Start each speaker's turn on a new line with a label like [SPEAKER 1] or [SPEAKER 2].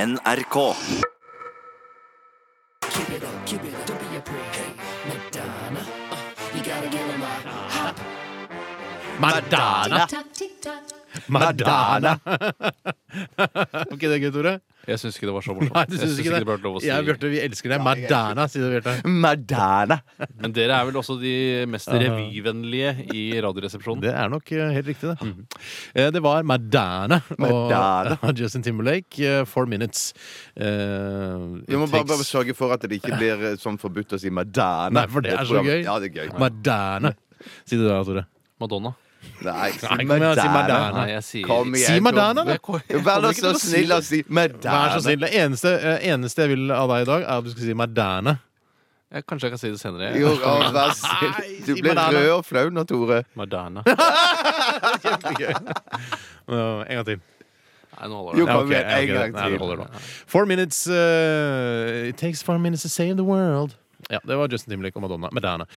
[SPEAKER 1] NRK.
[SPEAKER 2] Keep it up, keep it up, don't be a prick. Hey, Madonna, uh, you gotta give him a hop.
[SPEAKER 3] Madonna.
[SPEAKER 2] Tick-tock, tick-tock.
[SPEAKER 3] Madonna. ok, det er gøy, Tore.
[SPEAKER 4] Jeg syns ikke det var så morsomt.
[SPEAKER 3] Nei, du
[SPEAKER 4] Jeg
[SPEAKER 3] syns
[SPEAKER 4] synes
[SPEAKER 3] ikke det?
[SPEAKER 4] ble lov å si.
[SPEAKER 3] Ja, Bjarte, vi elsker deg. Madonna, sier det, Bjarte.
[SPEAKER 1] Madonna.
[SPEAKER 4] Men dere er vel også de mest revyvennlige i Radioresepsjonen.
[SPEAKER 3] Det er nok eh, helt riktig, det. Eh, Det var Madonna
[SPEAKER 1] Madonna.
[SPEAKER 3] og Justin Timberlake, eh, Four Minutes.
[SPEAKER 5] Vi
[SPEAKER 3] Eh,
[SPEAKER 5] må
[SPEAKER 3] it
[SPEAKER 5] bare,
[SPEAKER 3] takes-
[SPEAKER 5] bare sørge for at det ikke blir eh, sånn forbudt å si Madonna.
[SPEAKER 3] Nei, for det er så
[SPEAKER 5] programmet.
[SPEAKER 3] gøy.
[SPEAKER 5] Ja, det er gøy.
[SPEAKER 3] Madonna. Si det da, Tore.
[SPEAKER 4] Madonna.
[SPEAKER 5] Nei, si
[SPEAKER 3] Nei, kom igjen, si Madonna.
[SPEAKER 4] Nei, jeg sier
[SPEAKER 5] Kom igjen.
[SPEAKER 3] Si Madonna, da! altså.
[SPEAKER 4] Jeg kom- jeg
[SPEAKER 5] Jo, Vær
[SPEAKER 4] kommer
[SPEAKER 5] da
[SPEAKER 4] ikke
[SPEAKER 5] så
[SPEAKER 4] til å si
[SPEAKER 5] snill
[SPEAKER 4] det.
[SPEAKER 5] å si
[SPEAKER 3] Vær så
[SPEAKER 5] Madonna.
[SPEAKER 3] snill. Det eneste, eh, eneste jeg vil av deg i dag, er at du skal si Madonna.
[SPEAKER 4] Jeg- Kanskje jeg kan si det senere.
[SPEAKER 5] Jo, ja, vær så snill. Du blir rød og flau nå, Tore.
[SPEAKER 4] Madonna.
[SPEAKER 3] Eh, En gang til.
[SPEAKER 4] Nei, nå
[SPEAKER 5] Jo,
[SPEAKER 4] holder
[SPEAKER 5] kom
[SPEAKER 4] det.
[SPEAKER 3] ok,
[SPEAKER 5] igjen.
[SPEAKER 3] ja, ok,
[SPEAKER 5] En gang
[SPEAKER 3] nei, det holder
[SPEAKER 5] til.
[SPEAKER 3] nå. Four uh, minutes eh, It takes four minutes to save the world. Ja, Det var Justin Timberlake og Madonna. Madonna.